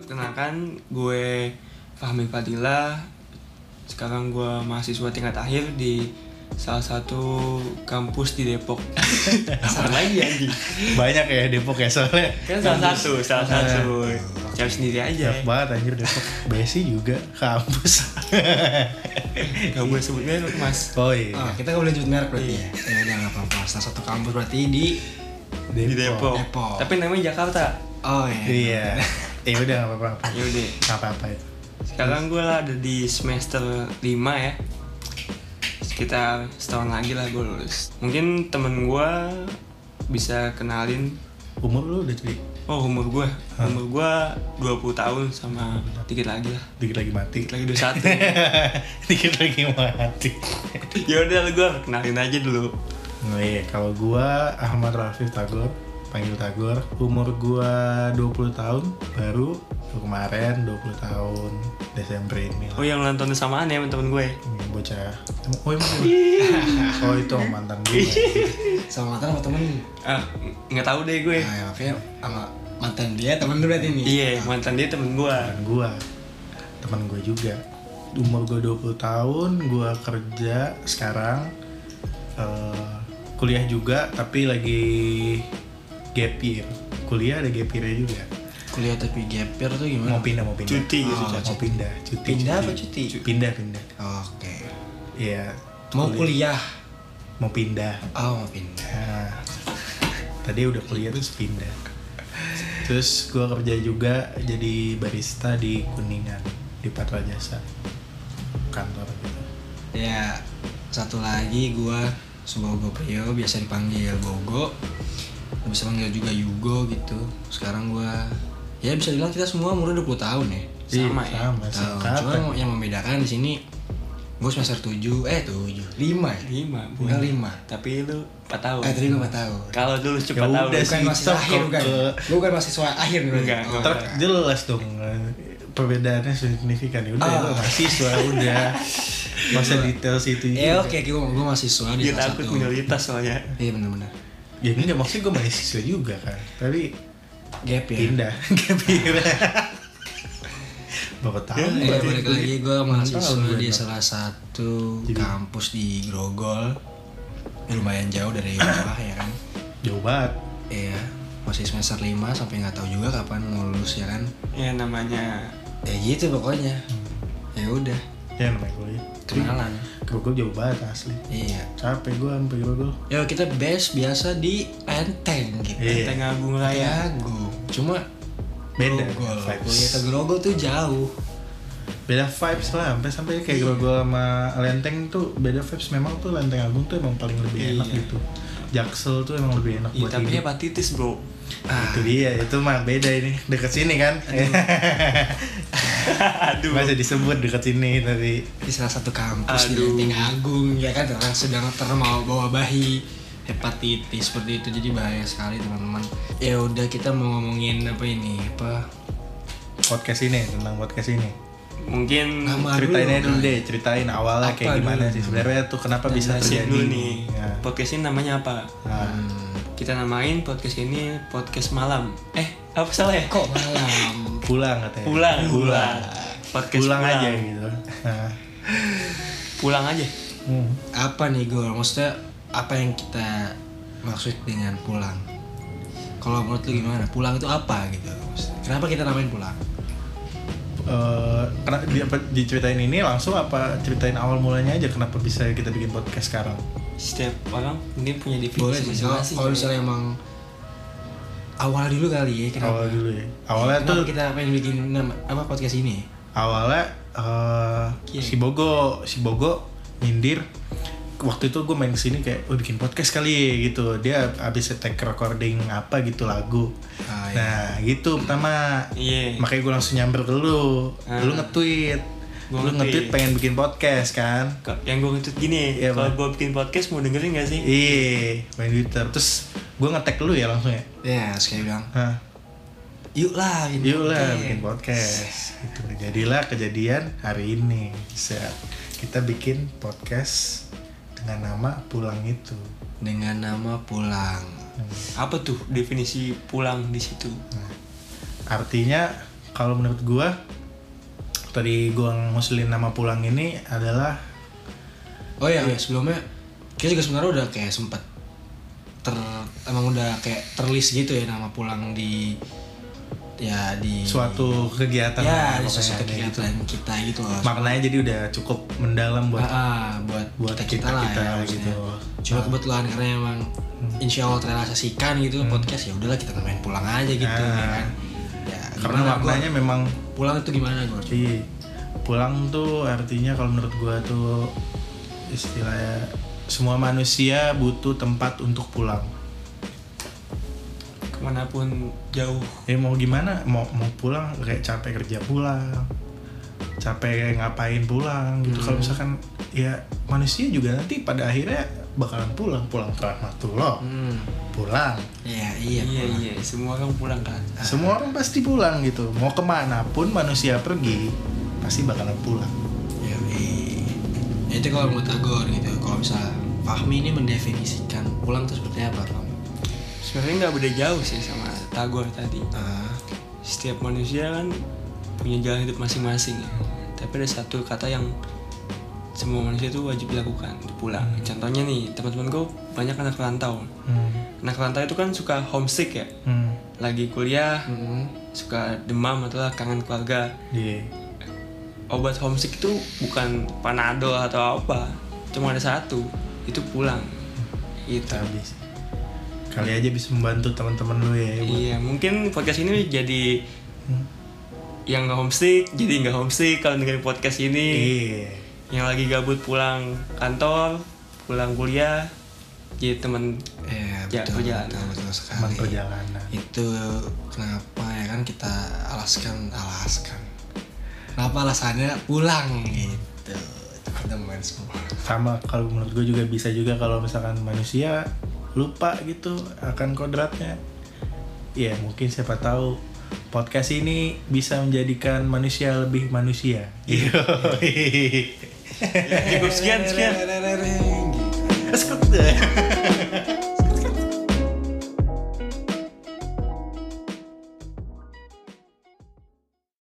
perkenalkan gue Fahmi Fadila sekarang gue mahasiswa tingkat akhir di salah satu kampus di Depok sama lagi anjing Banyak ya Depok ya soalnya. kan salah satu salah Ah, satu cari sendiri aja Banyak banget anjir Depok. BSI juga kampus. gak boleh sebut merek mas oh iya. Ah, Oh, kita gak boleh nyebut merek berarti ya? Ya udah gak apa-apa, salah satu kampus berarti di... di Depok. Depok. tapi namanya Jakarta Oh iya Iya. Eh udah nggak apa-apa. yaudah Nggak apa-apa ya. sekarang gue ada di semester 5 ya sekitar setahun lagi lah gue lulus mungkin temen gue bisa kenalin Umur lu udah jadi oh umur gue umur gue 20 tahun sama dikit lagi lah dikit lagi mati. dikit lagi 21 dikit lagi mati. yaudah Ya lu gue kenalin aja dulu Oh iya, kalau gua Ahmad Rafif Tagor, panggil Tagor. Umur gua 20 tahun, baru kemarin 20 tahun Desember ini. lah. oh yang ulang tahun samaan ya sama temen gue Ini bocah. Emang- Oh, emang oh itu mantan gue. Sama mantan sama temen lu? ah nggak tahu deh Eh. gue Nah, ya, makanya sama mantan dia temen lu berarti nih? iya mantan dia temen gue Teman gue, teman gue juga. Umur gue 20 tahun, gue kerja sekarang. Eh, kuliah juga, tapi lagi gap year. Kuliah ada gap year juga. Kuliah tapi gapir tuh Mau gimana? pindah, mau pindah. Ah, cuti gitu Oh, Cak. Mau pindah, cuti. Pindah apa cuti? Pindah, pindah. Oke Iya, Mau kuliah? mau pindah. Oh mau pindah Nah, tadi udah kuliah terus pindah. Terus gue kerja juga jadi barista di Kuningan di Patra Jasa kantor gitu. Ya satu lagi gua Subogo Prio biasa dipanggil Bogo Lu Bisa panggil juga Yugo gitu Sekarang gua Ya bisa dibilang kita semua umurnya 20 tahun ya Sama ya? Ih, Iya, sama Tahu. seangkatan. Cuma yang membedakan di sini gue semester 7 eh 7 5 ya. lima Enggak bukan 5. tapi lu 4 tahun Eh tadi gue nggak tahu. kalau dulu Ya cepat tahun udah Bukan sih, mahasiswa stop, akhir kalau bukan. ke- Gue bukan mahasiswa akhir berarti. Enggak, Oh, Ntar jelas dong eh, perbedaannya signifikan ya udah Ah. lu mahasiswa udah masa detail situ Eh juga. oke, gue gue mahasiswa Iya. di dia salah takut satu. minoritas soalnya Iya benar-benar. ya ini nggak maksud gue mahasiswa juga kan tapi Gap ya. pindah gak pindah berapa tahun Eh, berarti? balik lagi gue Tahun mahasiswa gua di enak. salah satu Jadi- kampus di Grogol. Ya, lumayan jauh dari rumah ya kan. jauh banget Iya, masih semester 5 sampai nggak tahu juga kapan mau lulus ya kan. ya namanya Ya gitu pokoknya. Hmm. Ya udah, ya namanya kuliah kenalan. Grogol jauh banget asli Iya. capek gue sampai Grogol Ya kita base biasa di Enteng gitu. Iya. Enteng Agung Raya Ya gue cuma beda Grogol. Kuliah ya, ke vibes Grogol tuh jauh. beda vibes lah sampai sampai kayak Grogol sama Lenteng tuh beda vibes memang tuh Lenteng Agung tuh emang paling lebih enak Iya. gitu Jaksel tuh emang lebih enak Iya, buat tapi hidup hepatitis bro Ah, itu dia itu mah beda ini deket sini kan aduh masih disebut deket sini tapi Di salah satu kampus Aduh. di Lenteng Agung ya kan orang sedang terbawa bawa bahi hepatitis seperti itu jadi bahaya sekali teman-teman. Ya udah kita mau ngomongin apa ini apa podcast ini tentang podcast ini mungkin Nama ceritain aja dulu, dulu deh ceritain awalnya Apa kayak gimana dulu? sih sebenarnya tuh kenapa bisa jelasin terjadi dulu nih Ya. podcast ini namanya apa Nah, Hmm. kita namain podcast ini podcast malam eh apa salah ya kok malam pulang katanya pulang pulang podcast pulang aja gitu nah, pulang aja hmm. apa nih gue maksudnya apa yang kita maksud dengan pulang? Kalau menurut lu gimana? Pulang itu apa gitu? Maksudnya, Kenapa kita namain pulang? Eh, kena- di, apa- diceritain ini langsung apa ceritain awal mulanya aja kenapa bisa kita bikin podcast sekarang setiap orang mungkin punya boleh definisi sih kalau masing-masing ya. ya. kalau misalnya emang awal dulu kali ya kenapa, awal dulu ya awalnya kenapa tuh kita pengen bikin nama apa podcast ini awalnya eh, Iya. si Bogo si Bogo nyindir waktu itu gue main kesini kayak oh bikin podcast kali ya," gitu dia abis take recording apa gitu lagu Ah, iya. nah gitu pertama Iya. makanya gue langsung nyamber ke lu lu nge-tweet Gua lu nge-tweet. nge-tweet pengen bikin podcast kan Kok- yang gue ngetut gini Iya, kalau Bang. gue bikin podcast mau dengerin gak sih iya main Twitter terus gue nge-tag lu ya langsung ya ya terus kayak bilang Hah, yuk lah bikin yuk lah podcast." bikin podcast gitu jadilah kejadian hari ini Set. kita bikin podcast dengan nama pulang itu dengan nama pulang apa tuh definisi pulang di situ Nah, artinya kalau menurut gua tadi gua ngusulin nama pulang ini adalah Oh iya, iya, sebelumnya kita juga sebenarnya udah kayak sempet ter emang udah kayak terlist gitu ya nama pulang di ya di suatu kegiatan lah ya pokoknya di sesuatu kayak gitu. kegiatan kita gitu loh. maknanya jadi udah cukup mendalam buat Ah, ah, buat buat kita, lah kita-kita ya, harusnya. gitu. Hmm. Cuma kebetulan karena emang insya Allah terrealisasikan gitu podcast ya udahlah kita namain pulang aja gitu Ah. ya kan. Ya, karena gimana, maknanya memang Gor? pulang itu gimana gue? di pulang tuh artinya kalau menurut gua tuh istilahnya semua manusia butuh tempat untuk pulang kemanapun jauh ya mau gimana mau mau pulang kayak capek kerja pulang capek ngapain pulang gitu kalau misalkan ya manusia juga nanti pada akhirnya bakalan pulang pulang ke rahmatullah Hmm, pulang iya iya. iya pulang. iya semua orang pulang kan semua orang pasti pulang gitu mau kemana pun manusia pergi pasti bakalan pulang Yoi. Ya, itu kalau menurut Agor gitu kalau misalnya Fahmi ini mendefinisikan pulang itu seperti apa Fahmi? sebenarnya nggak beda jauh sih sama Tagor tadi Ah, setiap manusia kan punya jalan hidup masing-masing ya tapi ada satu kata yang semua manusia itu wajib dilakukan pulang Hmm. contohnya nih teman-teman gue banyak anak rantau anak rantau itu kan suka homesick ya Hmm. lagi kuliah mm, suka demam atau lah kangen keluarga Iya. obat homesick itu bukan panadol atau apa cuma ada satu itu pulang Gitu. itu kita habis kali aja bisa membantu teman-teman lu ya buat- iya mungkin podcast ini jadi Hmm. yang nggak homesick jadi nggak homesick kalau dengerin podcast ini iya yang lagi gabut pulang kantor pulang kuliah jadi temen ya, Ya, betul, perjalanan. betul, betul teman sekali. perjalanan Itu kenapa ya kan kita alaskan alaskan. Kenapa alasannya pulang gitu? Teman-teman semua. sama kalau menurut gue juga bisa juga kalau misalkan manusia lupa gitu akan kodratnya ya mungkin siapa tahu podcast ini bisa menjadikan manusia lebih manusia Iya. cukup sekian sekian Gitu. Let's go.